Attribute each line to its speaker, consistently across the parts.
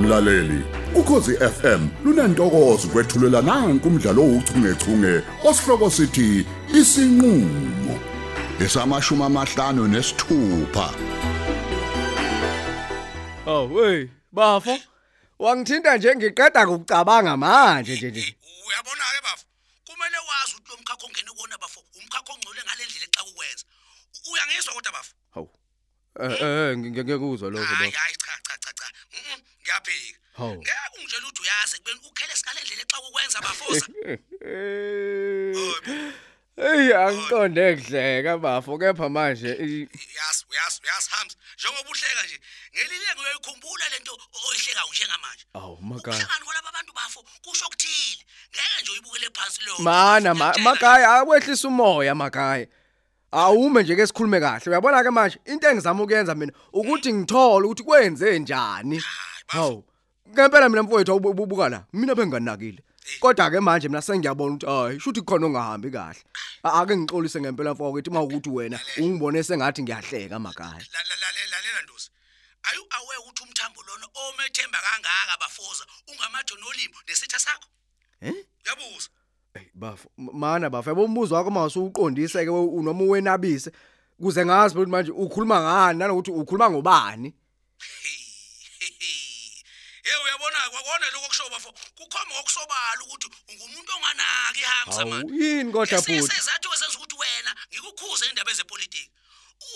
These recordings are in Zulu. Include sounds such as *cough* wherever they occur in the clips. Speaker 1: mlaleli ukhosi FM lunantokozo kwethulela nanku umdlalo ouchungechunge osihloko sithi isinqulo lesamashumi amahlanu nesithupha
Speaker 2: Oh hey bafo wangithinta nje ngiqeda ukucabanga manje nje nje
Speaker 3: uyabona ke bafo kumele wazi ukuthi lo mkhakha ongene kuwona bafo umkhakha ongcole ngalendlela exa ukwenza uyangizwa kodwa bafo
Speaker 2: hawu eh eh ngeke kuzwa lokho
Speaker 3: hayi
Speaker 2: bafo
Speaker 3: hayi cha cha cha cha Mhm, ngiyaphika
Speaker 2: Hawu.
Speaker 3: ngeke ungitshela ukuthi uyazi ekubeni ukhele singalendlela exa ukwenza
Speaker 2: *laughs*
Speaker 3: bafosa
Speaker 2: Hey angiqonde kudleka bafo kepha manje i-
Speaker 3: uyazi uyazi uyazi hams njengoba uhleka nje ngelinye ngiyoyikhumbula lento oyihlekayo njengamanje
Speaker 2: awu makaya
Speaker 3: ukuhlangana kwalaba bantu bafo kusho okuthile ngeke nje uyibukele phansi leyo nto.
Speaker 2: Mana ma-
Speaker 3: Ngiyakutshela nje.
Speaker 2: makaya akwehlisa umoya makaya Awume nje ke sikhulume kahle uyabona ke manje into engizama ukuyenza mina ukuthi ngithole ukuthi kwenze njani Hawu ngempela mina mfowethu awububuka la mina benganakile kodwa ke manje mina sengiyabona ukuthi hayi shuthi khona ongahambi kahle A- ake ngixolise ngempela mfowethu mawukuthi wena ungibone sengathi ngiyahleka makaya
Speaker 3: La- la- la- lalela ndosi ayu aware ukuthi umthambo lona omethemba kangaka bafoza ungamajoni olimbo nesitha sakho
Speaker 2: Eh?
Speaker 3: uyabuza
Speaker 2: Ey, bafo m- mana bafo yabo umbuzo wakho mase uqondise ke we- u- noma uwenabise kuze ngazi phela ukuthi manje ukhuluma ngani nanokuthi ukhuluma ngobani
Speaker 3: ye uyabona kwakona lokho kusho bafo kukhoma okusobala ukuthi ungumuntu onganaki ihamsa
Speaker 2: Hawu,
Speaker 3: manje
Speaker 2: yini kodwa bhuti
Speaker 3: sesizathu esenza ukuthi wena ngikukhuze indaba zepolitiki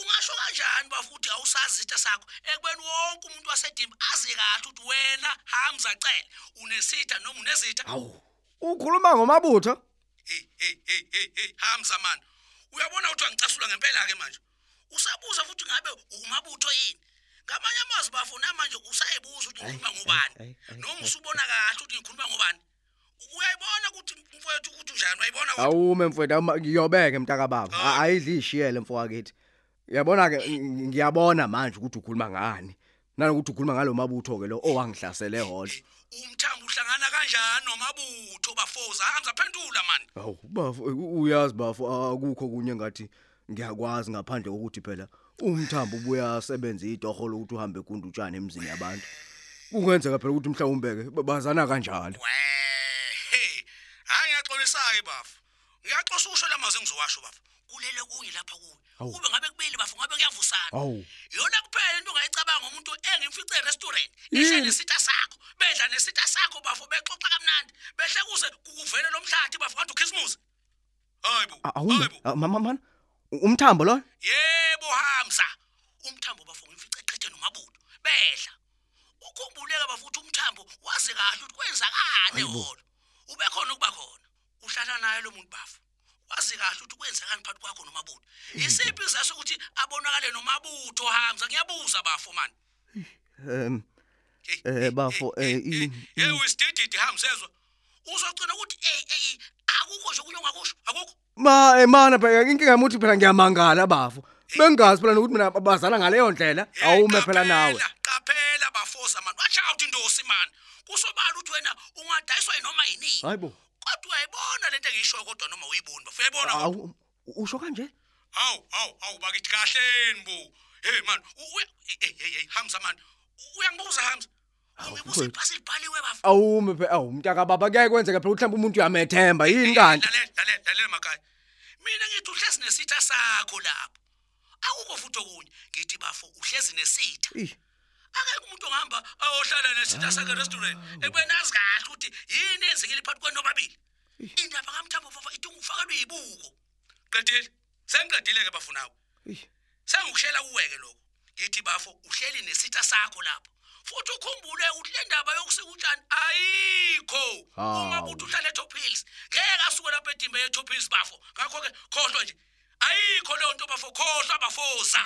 Speaker 3: ungasho kanjani bafuthi awusazi isitha sakho ekubeni wonke umuntu wasedimba azi kahle ukuthi wena hamza cele unesitha noma unezitha
Speaker 2: awu ukhuluma ngomabutho
Speaker 3: hey hey hey hey hey hamza man uyabona ukuthi angicasula ngempela ke manje usabuza futhi ngabe umabutho yini ngamanye amazwi bafuna manje usayibuza ukuthi ngikhuluma ngobani noma usubona kahle ukuthi ngikhuluma ngobani uyayibona ukuthi mfowethu ukuthi unjani uyayibona kodwa?
Speaker 2: awume mfowethu ama- ngiyobeke mntaka baba
Speaker 3: Ah.
Speaker 2: A- ayidli ishiyele mfowakithi uyabona ke ng- ngiyabona manje ukuthi ukhuluma ngani nanokuthi ukhuluma ngalo mabutho ke lo owangihlasele hodla
Speaker 3: umthambo uhlangana kanjani nomabutho bafoza hamza phendula man
Speaker 2: awu bafo u- uyazi bafo akukho kunye ngathi ngiyakwazi ngaphandle kokuthi phela umthambo ubuya asebenza idoholo ukuthi uhambe kundu utshana emzini yabantu kungenzeka phela ukuthi mhlawumbeke bazana kanjalo
Speaker 3: Wehe. Hayi ngiyaxolisa-ke bafu. Ngiyaxosa usho lamazwi engizowasho bafu. Kulele kunye lapha kuwe. Kube ngabe kubili bafu ngabe kuyavusana.
Speaker 2: Hawu.
Speaker 3: Yona kuphela into ongayicabanga umuntu engimfice e-restaurant.
Speaker 2: Yini?
Speaker 3: Esha nesita sakho. Bedla nesita sakho bafu bexoxa kamnandi. Behle kuze kuvele lo mhlathi bafu kanti ukhisimusi. Hayi bo.
Speaker 2: A-
Speaker 3: Hayi
Speaker 2: awume
Speaker 3: bo.
Speaker 2: a- mama mana u- umthambo lo
Speaker 3: Yebo Hamza. Umthambo bafu ngimfice eqhethe nomabutho. Bedla. Ukhumbuleka bafuthi umthambo wazi kahle ukuthi kwenzakani wona. Ube khona ukuba khona. Uhlala naye lo muntu bafu. Wazi kahle ukuthi kwenzakani phakathi kwakho nomabutho. Isiphi izasho ukuthi abonakale nomabutho Hamza? Ngiyabuza bafu man.
Speaker 2: em eh bafo eh i-
Speaker 3: Hey usidididi Hamza ezwa. Uzocina ukuthi hey hey akukho nje kunye ongakusho. Akukho.
Speaker 2: ma eh, mana phela inkinga yamuthi phela ngiyamangala bafo bengazi phela nokuthi mina bazana ngaleyo ndlela
Speaker 3: Hey,
Speaker 2: awume phela
Speaker 3: qaphela,
Speaker 2: nawe
Speaker 3: Qaphela bafosa man. Watch out indosi man. Kusobala ukuthi wena ungadayiswa inoma yini.
Speaker 2: hayibo
Speaker 3: Kodwa uyayibona lento engiyisho kodwa noma uyiboni bafu. Uyayibona? kodwa?
Speaker 2: awu usho kanje
Speaker 3: Hawu hawu hawu bakithi kahleni bo. Hey man, u- uya- hey hey hey Hamza man. U- Uyangibuza Hamza. Ungibuza
Speaker 2: mfowethu.
Speaker 3: ipasi libhaliwe bafu.
Speaker 2: awume phela awu mntaka baba kuyayenzeka phela mhlawumbe umuntu uyamethemba yini kanti
Speaker 3: Lalela lalela lalela makhaya. Mina ngithi uhlezi nesitha sakho lapho. Akukho futhi okunye. Ngithi bafu uhlezi nesitha.
Speaker 2: Eish.
Speaker 3: akekho umuntu ongahamba ayohlala nesitha sakhe restaurant ekubeni azi kahle ukuthi yini enzekile phakathi kwenu nobabili indaba kamthambo vafa ithi ungifakelwe yibuko qedile sengiqedile-ke bafu nawe
Speaker 2: Eish.
Speaker 3: sengikushela kuweke lokho ngithi bafo uhleli nesitha sakho lapho futhi ukhumbule ukuthi le ndaba yokusika utshani ayikho
Speaker 2: Hawu.
Speaker 3: umabuthi uhlala ethopils ngeke asuke lapho edimba yethopils bafo ngakho-ke khohlwa nje ayikho leyo nto bafo khohlwa bafoza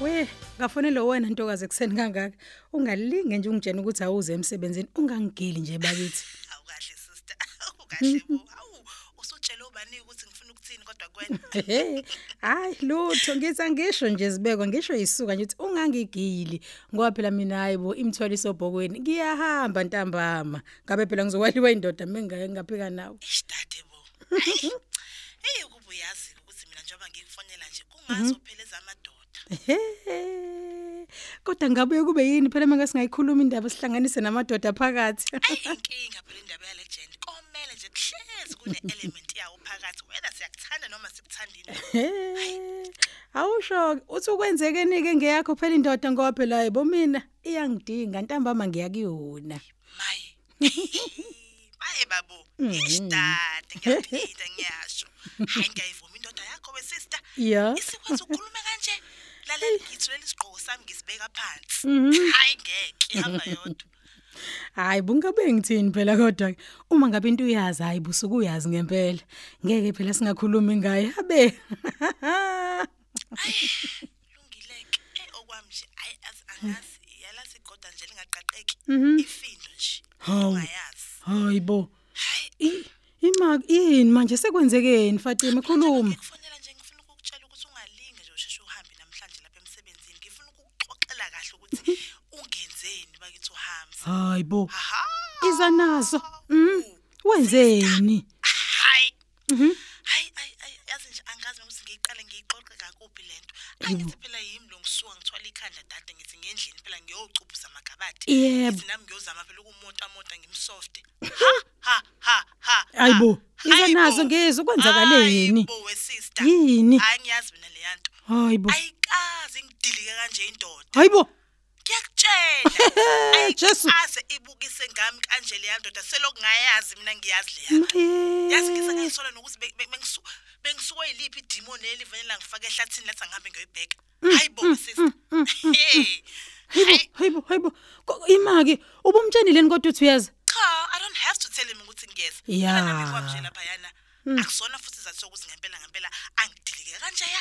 Speaker 4: We, ngafonela wena ntokazi ekuseni kangaka. Ungalinge nje ungitshena ukuthi awuze emsebenzini, ungangigili nje bakithi. *laughs*
Speaker 5: awukahle sister awukahle bo awu usutshela ubani ukuthi ngifuna ukuthini kodwa
Speaker 6: kwena
Speaker 4: hayi lutho ngithi angisho nje sibekwa ngisho yisuka nje uthi ungangigili ngoba phela mina hayi bo imthwaliso bhokweni ngiyahamba ntambama ngabe phela ngizokwaliwa indoda mengingaphika nawe
Speaker 3: Ishtade bo. Hayi. Hey ukuba uyazi ukuthi mina njengoba ngikufonela nje kungazo phela ezamadoda.
Speaker 4: Ehe. kodwa ngabe kube yini phela manje singayikhuluma indaba sihlanganise namadoda phakathi
Speaker 3: Hayi inkinga phela indaba yale legend. Komele nje kuhlezi kune element yawo phakathi whether siyakuthanda noma sikuthandini.
Speaker 4: Ehe. awusho uthi kwenzekeni ke ngeyakho phela indoda ngoba phela hayi bo mina iyangidinga ntambama ngiyakuyona
Speaker 3: Maye. Maye babo. Ishtade ngiyaphila ngiyasho. Hayi ngiyivuma indoda yakho we sister.
Speaker 4: Yeah.
Speaker 3: Isikwazi ukukhuluma kanje. Lalela ngithi leli sigqoko sami ngisibeka phansi. Hayi ngeke ihamba yodwa.
Speaker 4: Hayi bungabe ngithini phela kodwa ke? uma ngabe into uyazi hayi busuku uyazi ngempela ngeke phela singakhulumi ngaye abe
Speaker 3: lungileke eh okwami nje ayi az- angazi yalazi igoda nje lingaqaqeki ifindo nje
Speaker 4: Hawu.
Speaker 3: ungayazi
Speaker 4: hayibo
Speaker 3: hayi
Speaker 4: ima yini manje sekwenzekeni Fatima
Speaker 3: njengoba
Speaker 4: khuluma
Speaker 3: ngikufundela nje ngifuna ukukutshela ukuthi ungalinge nje usheshe uhambe namhlanje lapha emsebenzini ngifuna ukukuxoxela kahle ukuthi ungenzeni bakithi uhamza
Speaker 4: hayibo
Speaker 3: aha
Speaker 4: iza nazo mm wenzeni
Speaker 3: hayi
Speaker 4: Mhm.
Speaker 3: hayi ayi ayi yazi nje angazi noma ukuthi ngiyiqale ngiyixoxe kakuphi lento angithi phela yimi lo ngisuka ngithwala ikhanda dade ngithi ngendlini phela ngiyocuphuza amagabadi
Speaker 4: Yebo.
Speaker 3: nami ngiyozama phela ukumota mota ngimsofte ha ha ha ha
Speaker 4: Hayibo,
Speaker 3: ha.
Speaker 4: ize nazo
Speaker 3: Hayibo.
Speaker 4: ngezwe, kwenzakaleni?
Speaker 3: Hayibo we sister
Speaker 4: Yini?
Speaker 3: hayi ngiyazi mina le yanto
Speaker 4: hayibo
Speaker 3: ayikazi ngidilike kanje indoda
Speaker 4: hayibo
Speaker 3: ngiyakutshela
Speaker 4: Jesu.
Speaker 3: ayikaze ibukise ngami kanje le yandoda selokungayazi mina ngiyazi le yanto yazi
Speaker 4: maye
Speaker 3: ngisengayisola nokuthi be- be- bengisu- bengisuke yiliphi idemon elivanela ngifake ehlathini lathi angihambe ngiyoyibheka hayi bo sister *laughs* hey
Speaker 4: hayibo hayibo hayibo Ko- imaki ubumtshenile ni kodwa uthi uyazi
Speaker 3: cha i don't have to tell him ukuthi ngiyeza
Speaker 4: Ya.
Speaker 3: nje laphayana akusona futhi izathu sokuthi ngempela ngempela angidilike kanjeya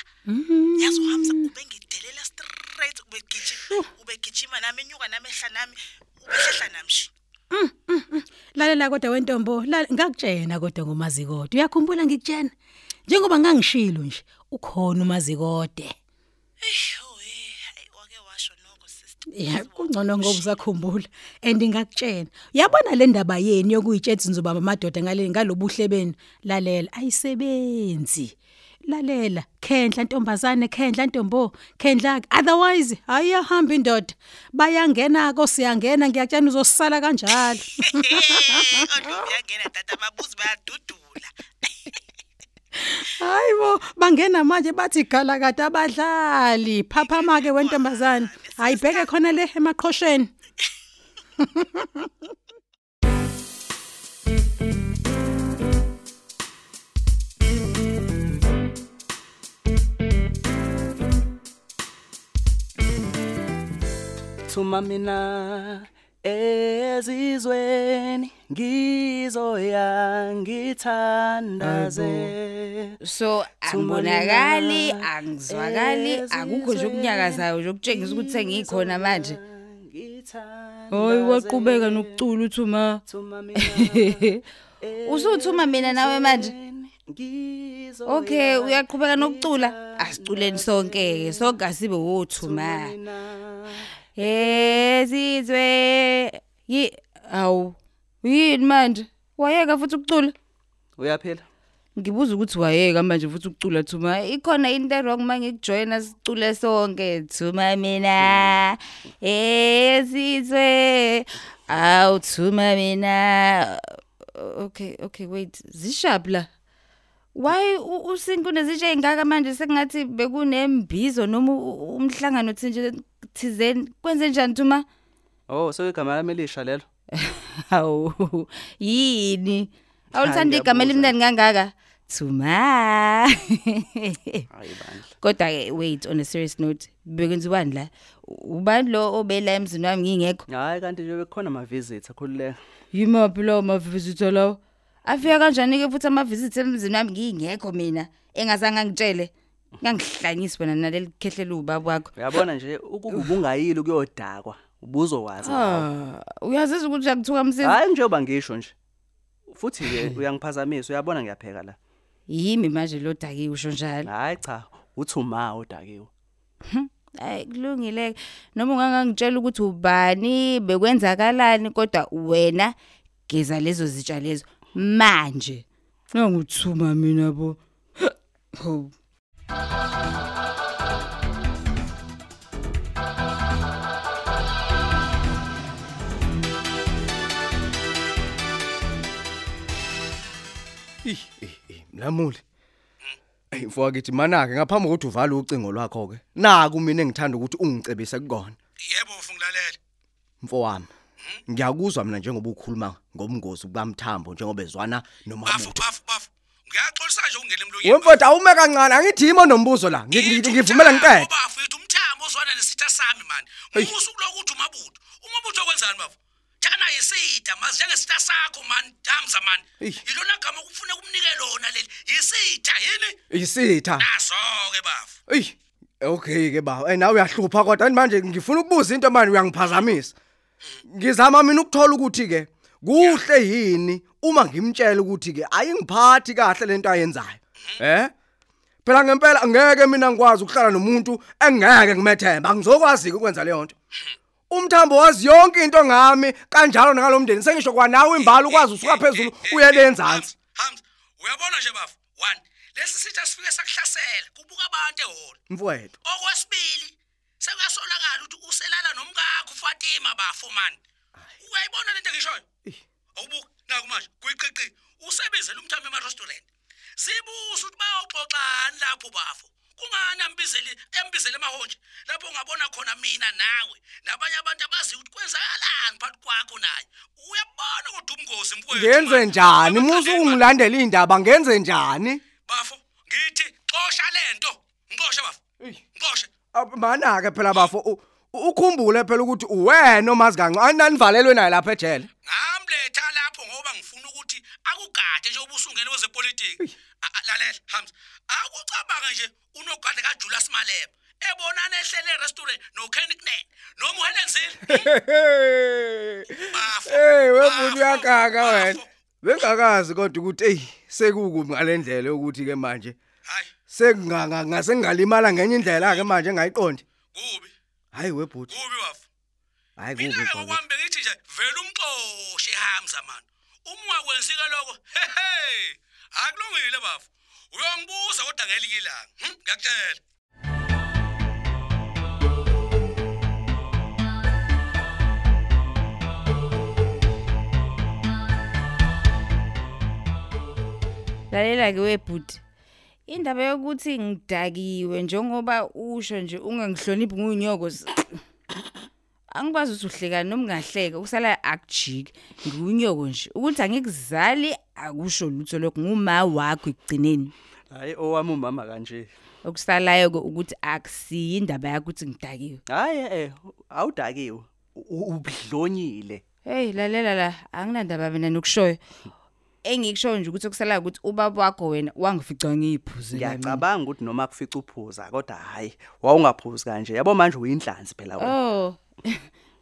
Speaker 3: yazi uhamza ubengidelela straight ubegijima ubegijima nami enyuka nami ehla nami ubehla nami shi
Speaker 4: lalela kodwa wentombo lale- ngakutshena kodwa ngomazikodwa uyakhumbula ngikutshena njengoba ngangishilo nje ukhona umazikodwa
Speaker 3: eyo eh hayi wake washo noko sister *laughs*
Speaker 4: yeah kungcono ngoba usakhumbula and ngakutshena uyabona le ndaba yeni yokuyitshetsi nzobaba amadoda ngale ngalobuhle benu lalela ayisebenzi lalela khendla ntombazane khendla ntombo khendla ke otherwise ayahamba indoda bayangena ko siyangena ngiyakutshena uzosala kanjalo
Speaker 3: odlovu Eh, yangena tata ababuzi bayadudula
Speaker 4: Hayibo bangena manje bathi gala kade abadlali phaphama ke wentombazana ayibheke khona le emaqhosheni
Speaker 7: Thuma mina ezizweni ngizoya ngithandaze
Speaker 8: so
Speaker 7: Thuma mina
Speaker 8: angibonakali angizwakali akukho nje
Speaker 7: ezizweni
Speaker 8: okunyakazayo nje okutshengisa ukuthi sengikhona manje
Speaker 7: ngithandaze.
Speaker 8: hoyi waqhubeka nokucula uthuma
Speaker 7: Thuma
Speaker 8: *laughs*
Speaker 7: mina
Speaker 8: usuthuma mina nawe manje
Speaker 7: ezizweni ngizoya
Speaker 8: okay uyaqhubeka nokucula asiculeni sonke ke sonke asibe wothuma
Speaker 7: mina
Speaker 8: ezizwe yi awu yini manje wayeka futhi ukucula
Speaker 7: uyaphila
Speaker 8: ngibuza ukuthi wayeka manje futhi ukucula thuma ikhona into wrong mangikujoyina sicule sonke thuma mina ezizwe aw thuma mina okay okay wait zishap la why u- usinko nezitshe ingaka manje sekungathi bekunembizo noma u- u- umhlangano thinje thizeni kwenze njani thuma
Speaker 7: oh sekuyigama lami elisha lelo
Speaker 8: Hawu yini? Awulithanda
Speaker 7: Hhayi,
Speaker 8: igama
Speaker 7: ngiyabuzwa.
Speaker 8: elimnandi kangaka? Thuma.
Speaker 7: hayi bandla
Speaker 8: Kodwa ke wait on a serious note, bekwenziwani la? Ubani lo obela emzini wami ngingekho?
Speaker 7: hayi kanti nje bekukhona ama-visit akhululeka
Speaker 8: Yimaphi lawo mavisito lawo? Afika kanjani ke futhi amavisits emzini wami ngingekho mina, engazange ngitshele. Ngangihlanyiswa bona naleli khehlela ubaba wakho.
Speaker 7: uyabona nje ukuba ubungayili ukuyodakwa ubuzowazi ngawo.
Speaker 8: Ah, uyazizwa ukuthi akuthuka umsisi?
Speaker 7: hayi njengoba ngisho nje futhi nje uyangiphazamisa uyabona ngiyapheka la
Speaker 8: yimi manje lo dakiwe usho njalo
Speaker 7: hayi cha uthi uma odakiwe
Speaker 8: hayi kulungile noma ungangangitshela ukuthi ubani bekwenzakalani kodwa wena geza lezo zitsha lezo manje nanguthuma mina bo ho
Speaker 2: Ih, eh, eh, mlamuli. Ey mfowethu ngithi manake ngaphambi kokuthi uvale ucingo lwakho ke. Naku mina engithanda ukuthi ungicebise kukona.
Speaker 3: Yebo mfungilalela.
Speaker 2: Mfowami. Ngiyakuzwa mina njengoba ukhuluma ngomngozi bamthambo njengoba ezwana
Speaker 3: Bafu
Speaker 2: nomamuntu.
Speaker 3: bafu bafu. Ngiyaxolisa nje ungena emlonyeni.
Speaker 2: Wemfowethu awume kancane angithi yimo nombuzo la. Ngi- ngi- Ngivumela ngiqede.
Speaker 3: Bafu yithi umthamo ozwana nesitha sami mani. Musu kulokuthi umabutho. Umabutho okwenzani bafu? Thana yisitha mazi njengesitha sakho mani damza mani.
Speaker 2: Eish.
Speaker 3: Yilona gama ukufuna kumnike lona leli. Yisitha yini?
Speaker 2: Isitha.
Speaker 3: Naso ke bafu.
Speaker 2: Ey. Okay ke baba. Ey nawe uyahlupha kodwa Ani manje ngifuna ukubuza into manje uyangiphazamisa. Ngizama mina ukuthola ukuthi ke kuhle yini uma ngimtshela ukuthi ke ayingiphathi kahle lento ayenzayo. Eh? Phela ngempela angeke mina ngikwazi ukuhlala nomuntu engeke ngimethemba. Angizokwazi ukwenza leyo nto. Umthambo wazi yonke into ngami kanjalo nakalomndeni sengisho kwanawe imbali ukwazi usuka phezulu uye lenzansi.
Speaker 3: Hamza, Hamza, uyabona nje bafu. 1. Lesi sitha sifike sakuhlasela. Kubuka abantu eholo.
Speaker 2: Mfowethu.
Speaker 3: Okwesibili, sekuyasolakala ukuthi uselala nomkakho uFatima bafo man. Uyayibona lento ngishoyo? Awubuki naku manje kuyiqiqi. Usebenzele umthambo ema restaurant. Sibuza ukuthi bayoxoxani lapho bafo. Kungani ambizeli embizele emahonje lapho ungabona khona mina nawe nabanye abantu abazi ukuthi kwenzakalani phakathi kwakho naye. Uyabona kodwa umngozi mfowethu.
Speaker 2: Ngenze
Speaker 3: man.
Speaker 2: njani? Musu
Speaker 3: Abaqale, man.
Speaker 2: ungilandela indaba ngenze njani?
Speaker 3: Bafo, ngithi xosha lento. Ngixoshe bafo. Ngixoshe.
Speaker 2: mana ke phela bafo u- u- ukhumbule phela ukuthi uwena omazi kancane nanivalelwe naye lapha ejele
Speaker 3: Ngamletha lapho ngoba ngifuna ukuthi akugade nje ubusungene kwezepolitiki. A- a- Lalela Hamza. Akucabanga nje unogade kaJulius Malema. Ebonana ehlele e-restaurant noKenny Knen noma uHelen Zille. Bafo,
Speaker 2: hey
Speaker 3: bafo,
Speaker 2: wemvuni yakaka wena
Speaker 3: bafo.
Speaker 2: bengakazi kodwa ukuthi ey sekukubi ngalendlela ukuthi ke manje
Speaker 3: Hayi,
Speaker 2: sekunganga ngase ngalimala ngenye indlela ke manje engayiqondi
Speaker 3: kubi.
Speaker 2: hayi webhuti
Speaker 3: Kubi bafo.
Speaker 2: hayi kubi
Speaker 3: Mina
Speaker 2: mfowethu.
Speaker 3: ngokwambe ngithi nje vele umxoshe Hamza man. Uma kwenzika lokho, hehe. Akulungile bafo. Uyongibuza kodwa ngelike ilanga. Hm, ngiyakutshela.
Speaker 8: lalela ke webhuti indaba yokuthi ngidakiwe njengoba usho nje ungangihloniphi ngunyoko s- angikwazi ukuthi uhleka noma ungahleka kusala akujiki ngunyoko nje ukuthi angikuzali akusho lutho lokho nguma wakho ekugcineni
Speaker 7: hayi owami umama kanje
Speaker 8: okusalayo ke ukuthi akusiyi indaba yakho ukuthi ngidakiwe
Speaker 7: hayi eh awudakiwe U- ubudlonyile
Speaker 8: hey lalela la anginandaba mina nokushoyo engikushoyo nje ukuthi okusalayo ukuthi ubaba wakho wena wangifica ngiyiphuze
Speaker 7: ngiyacabanga ukuthi noma kufica uphuza kodwa hayi wawungaphuzi kanje yabo manje uyinhlanzi phela wena
Speaker 8: Oh. *laughs*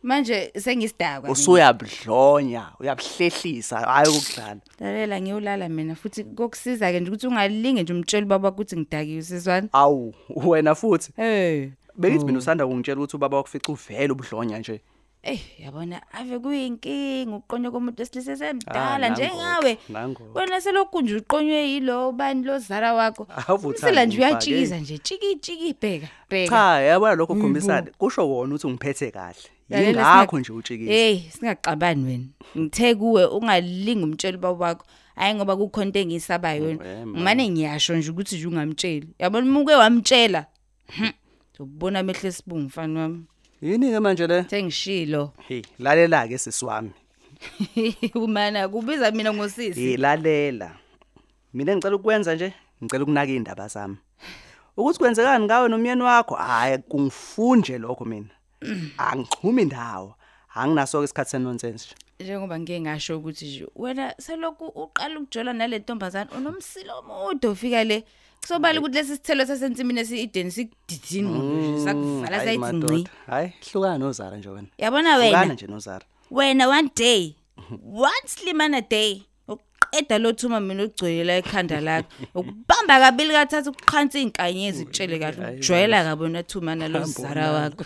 Speaker 8: Manje sengisidakwa. mina.
Speaker 7: usuyabudlonya uyabhlehlisa hayi ukudlala
Speaker 8: Lalela ngiyolala mina futhi kokusiza ke nje ukuthi ungalinge nje umtshele baba ukuthi ngidakiwe sizwana.
Speaker 7: awu wena futhi
Speaker 8: Hey.
Speaker 7: bengithi mina usanda kungitshela ukuthi ubaba wakufica uvele ubudlonya nje
Speaker 8: Eh yabona ave kuyinkinga ukuqonywa komuntu esilise
Speaker 7: Ah,
Speaker 8: semdala
Speaker 7: nangoke,
Speaker 8: njengawe.
Speaker 7: nangoke.
Speaker 8: Wena selokhu nje uqonywe yilo bani lozala wakho.
Speaker 7: Ave uthanda
Speaker 8: Umsila nje
Speaker 7: ngifake.
Speaker 8: uyatshikiza nje tshiki tshiki bheka. Bheka.
Speaker 7: cha yabona lokho khombisana kusho wona ukuthi ngiphethe kahle
Speaker 8: Lalela,
Speaker 7: yingakho
Speaker 8: singa-
Speaker 7: nje utshikile
Speaker 8: Hey, singaxabani wena. Ngithe kuwe ungalingi umtsheli baba wakho. Hayi ngoba kukhonto engiyisabayo wena.
Speaker 7: Mm, eh,
Speaker 8: Ngimane ngiyasho nje ukuthi nje ungamtsheli. Yabona umuke wamtshela. hm, Uzobona amehlo esibungu mfana wami.
Speaker 7: yini ke manje le
Speaker 8: Sengishilo. *laughs*
Speaker 7: hey lalela ke sisi wami
Speaker 8: Umana kubiza mina ngosisi.
Speaker 7: yilalela mina ngicela ukwenza nje ngicela ukunaka indaba zami ukuthi kwenzekani ngawe nomyeni wakho hayi kungifunje lokho mina angixhumi indawo anginaso ke isikhathi senonsense nje
Speaker 8: Njengoba ngeke ngasho ukuthi nje wena selokhu uqala ukujola nale ntombazana unomsilo omude ofika le. Kusobala ukuthi lesi sithelo sasensimini esiideni sikudidini nje sakuvala
Speaker 7: Mm, Hayi,
Speaker 8: sayithi ngci.
Speaker 7: madoda. hayi hlukana nozara nje wena
Speaker 8: Yabona wena.
Speaker 7: *laughs* hlukana nje nozara
Speaker 8: wena one day one slimana day edalothuma mina ogcwele la ekhanda lakhe ukubamba kabili kathathu uqhansa izinkanyezi utshele kahle ukujwayela kabona thumana lo zara wakho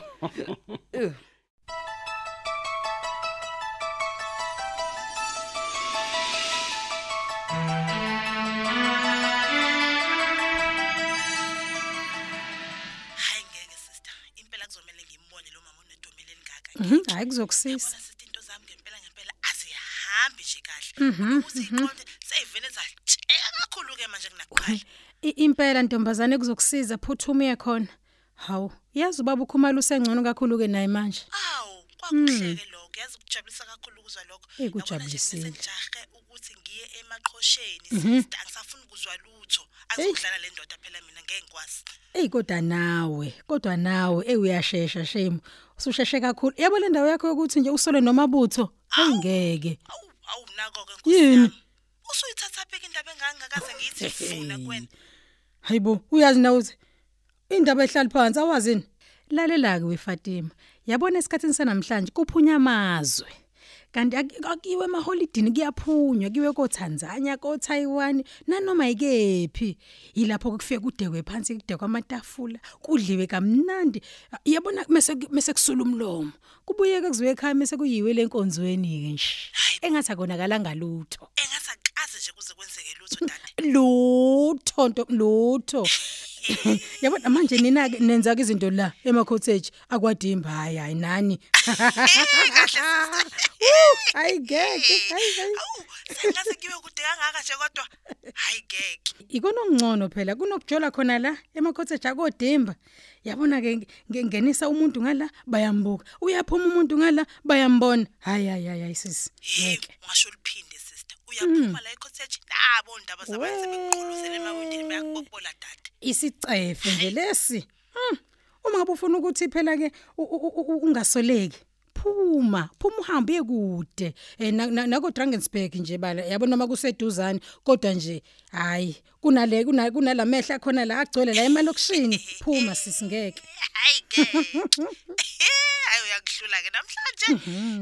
Speaker 3: hayi ngeke sister impela kuzomele ngimone lo mama unedome elingaka
Speaker 4: hayi Mhm, kuzokusiza
Speaker 3: yabona sithi into zami ngempela ngempela azihambi nje kahle ukuthi iqonde seyivele zatsheka kakhulu-ke manje kunakuqala
Speaker 4: I- impela ntombazane kuzokusiza phuthuma uye khona hawu yazi ubaba ukhumala usengcono kakhulu ke naye manje
Speaker 3: awu kwakuhleke lokho yazi kujabulisa kakhulu ukuzwa lokho
Speaker 4: Eh,
Speaker 3: Yabona nje
Speaker 4: kujabulisile.
Speaker 3: sengijahe ukuthi ngiye emaqhosheni sister angisafuni ukuzwa lutho azokudlala le ndoda phela mina ngeke ngikwazi
Speaker 4: eyi kodwa nawe kodwa nawe eyi uyashesha shame ususheshe kakhulu yabo le ndawo yakho yokuthi nje usole nomabutho hayi ngeke
Speaker 3: awu awu nako-ke nkosi
Speaker 4: Yini?
Speaker 3: yami usuyithatha phika indaba engangakaze ngiyithi funa kuwena
Speaker 4: hayi bo uyazi na uthi indaba ehlali phansi awazini lalela-ke wefatima yabona esikhathini sanamhlanje kuphunya amazwe kanti ak- akiwe emaholidini kuyaphunywa kiwe kotanzania kotayiwani nanoma yikephi yilapho kufike kudekwe phansi kudekwe amatafula kudliwe kamnandi yabona mese mese kusula umlomo kubuyeke kuziwe ekhaya mese kuyiwe lenkonzweni-ke nje engathi akonakalanga lutho
Speaker 3: engathi akukaze nje kuze kwenzeke lutho dade
Speaker 4: lutho nto lutho yabona manje nina ke nenza ke izinto la ema cottage akwadimba hayi hayi nani Woo, hayi ngeke hayi hayi
Speaker 3: awu sengathi kuyiwe kude kangaka nje kodwa hayi ngeke
Speaker 4: ikona ongcono phela kunokujola khona la ema cottage akodimba yabona ke nge- ngenisa umuntu ngala bayambuka uyaphuma umuntu ngala bayambona hayi hayi hayi hayi sisi ngeke
Speaker 3: Hey, ungasho liphinde sister. Uyaphuma la ecotage nabo ndaba zabantu sebeqhuluzela emawindini bayakubobola dade.
Speaker 4: isicefe nje lesi Hmm. uma ngabe ufuna ukuthi phela ke u- u- u- u- ungasoleki phuma phuma uhambe kude Eh, na- na- nako Drakensberg nje bala yabona noma kuseduzane kodwa nje hayi kunale kuna- kunalamehla khona la agcwele la emalokushini phuma sisingeke
Speaker 3: Hayi ke. *laughs* Hayi uyakuhlula ke namhlanje.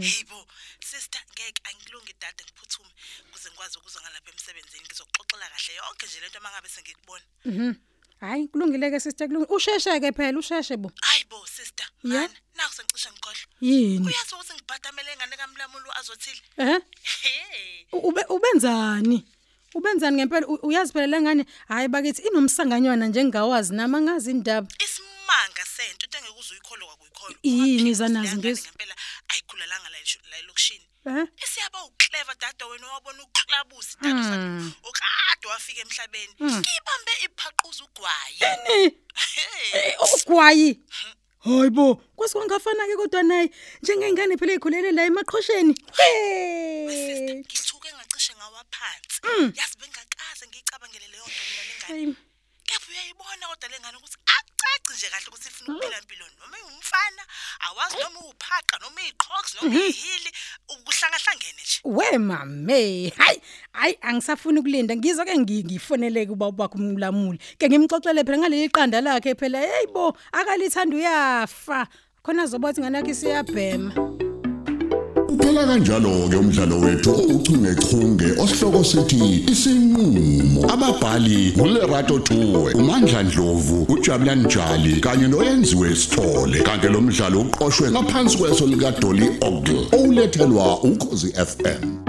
Speaker 3: Hebo, sister ngeke angilungi dade ngiphuthume kuze ngikwazi ukuza ngalapha emsebenzini ngizokuxoxela kahle yonke nje lento mangabe sengikubona.
Speaker 4: hayi kulungile ke sister kulungile usheshe ke phela usheshe bo
Speaker 3: Hayi bo sister,
Speaker 4: Yeah.
Speaker 3: mana naku sengicisha ngikhohlwa.
Speaker 4: yini
Speaker 3: Uyazi ukuthi ngibhadamele ingane kaMlamuli azothile.
Speaker 4: eh
Speaker 3: Hey.
Speaker 4: U- ube ubenzani ubenzani ngempela U- uyazi phela lengane hayi bakithi inomsanganywana njengawazi nama ngazi indaba
Speaker 3: isimanga sento into engeke uze uyikholwe kwakuyikholwa
Speaker 4: Yini
Speaker 3: Ungaphinde
Speaker 4: zanazo
Speaker 3: usiyangane
Speaker 4: ngezi-
Speaker 3: ngempela ayikhulalanga la eshu- la elokishini
Speaker 4: eh
Speaker 3: isiyaba uclever dada wena owabona uklabusi dada mm. ukade wafika emhlabeni ngibambe iphaquza ugwayi Hey,
Speaker 4: ugwayi hayibo kwase kwangafana ke kodwa naye njengengane phela ikhulele la emaqhosheni
Speaker 3: sister,
Speaker 4: Eh. Hey.
Speaker 3: ngithuke ngacishe ngawaphansi yazi bengakaze ngiyicabangele leyo nto mina lengane
Speaker 4: Hayi,
Speaker 3: kepha uyayibona kodwa le ngane ukuthi akucaci nje kahle ukuthi ifuna ukuphila impilo noma iwumfana awazi noma uwuphaqa noma iyiqhox noma iyihili ukuhlangahlangene nje
Speaker 4: we mame hayi hayi angisafuni ukulinda ngizwa ke ngi- ngifoneleke ubaba wakho umlamuli ke ngimxoxele phela ngaleli qanda lakhe phela hey bo akalithanda uyafa khona azobathi ngane yakhe siyabhema
Speaker 1: Kuphela kanjalo ke umdlalo wethu ouchungechunge osihloko sithi isinqulo ababhali uLerato Tuwe uMandla Dlovu uJabulani Njali kanye noyenziwe Sithole kanti lo mdlalo uqoqwwe ngaphansi kweso lika Dolly Ogle olethelwa ukhosi FM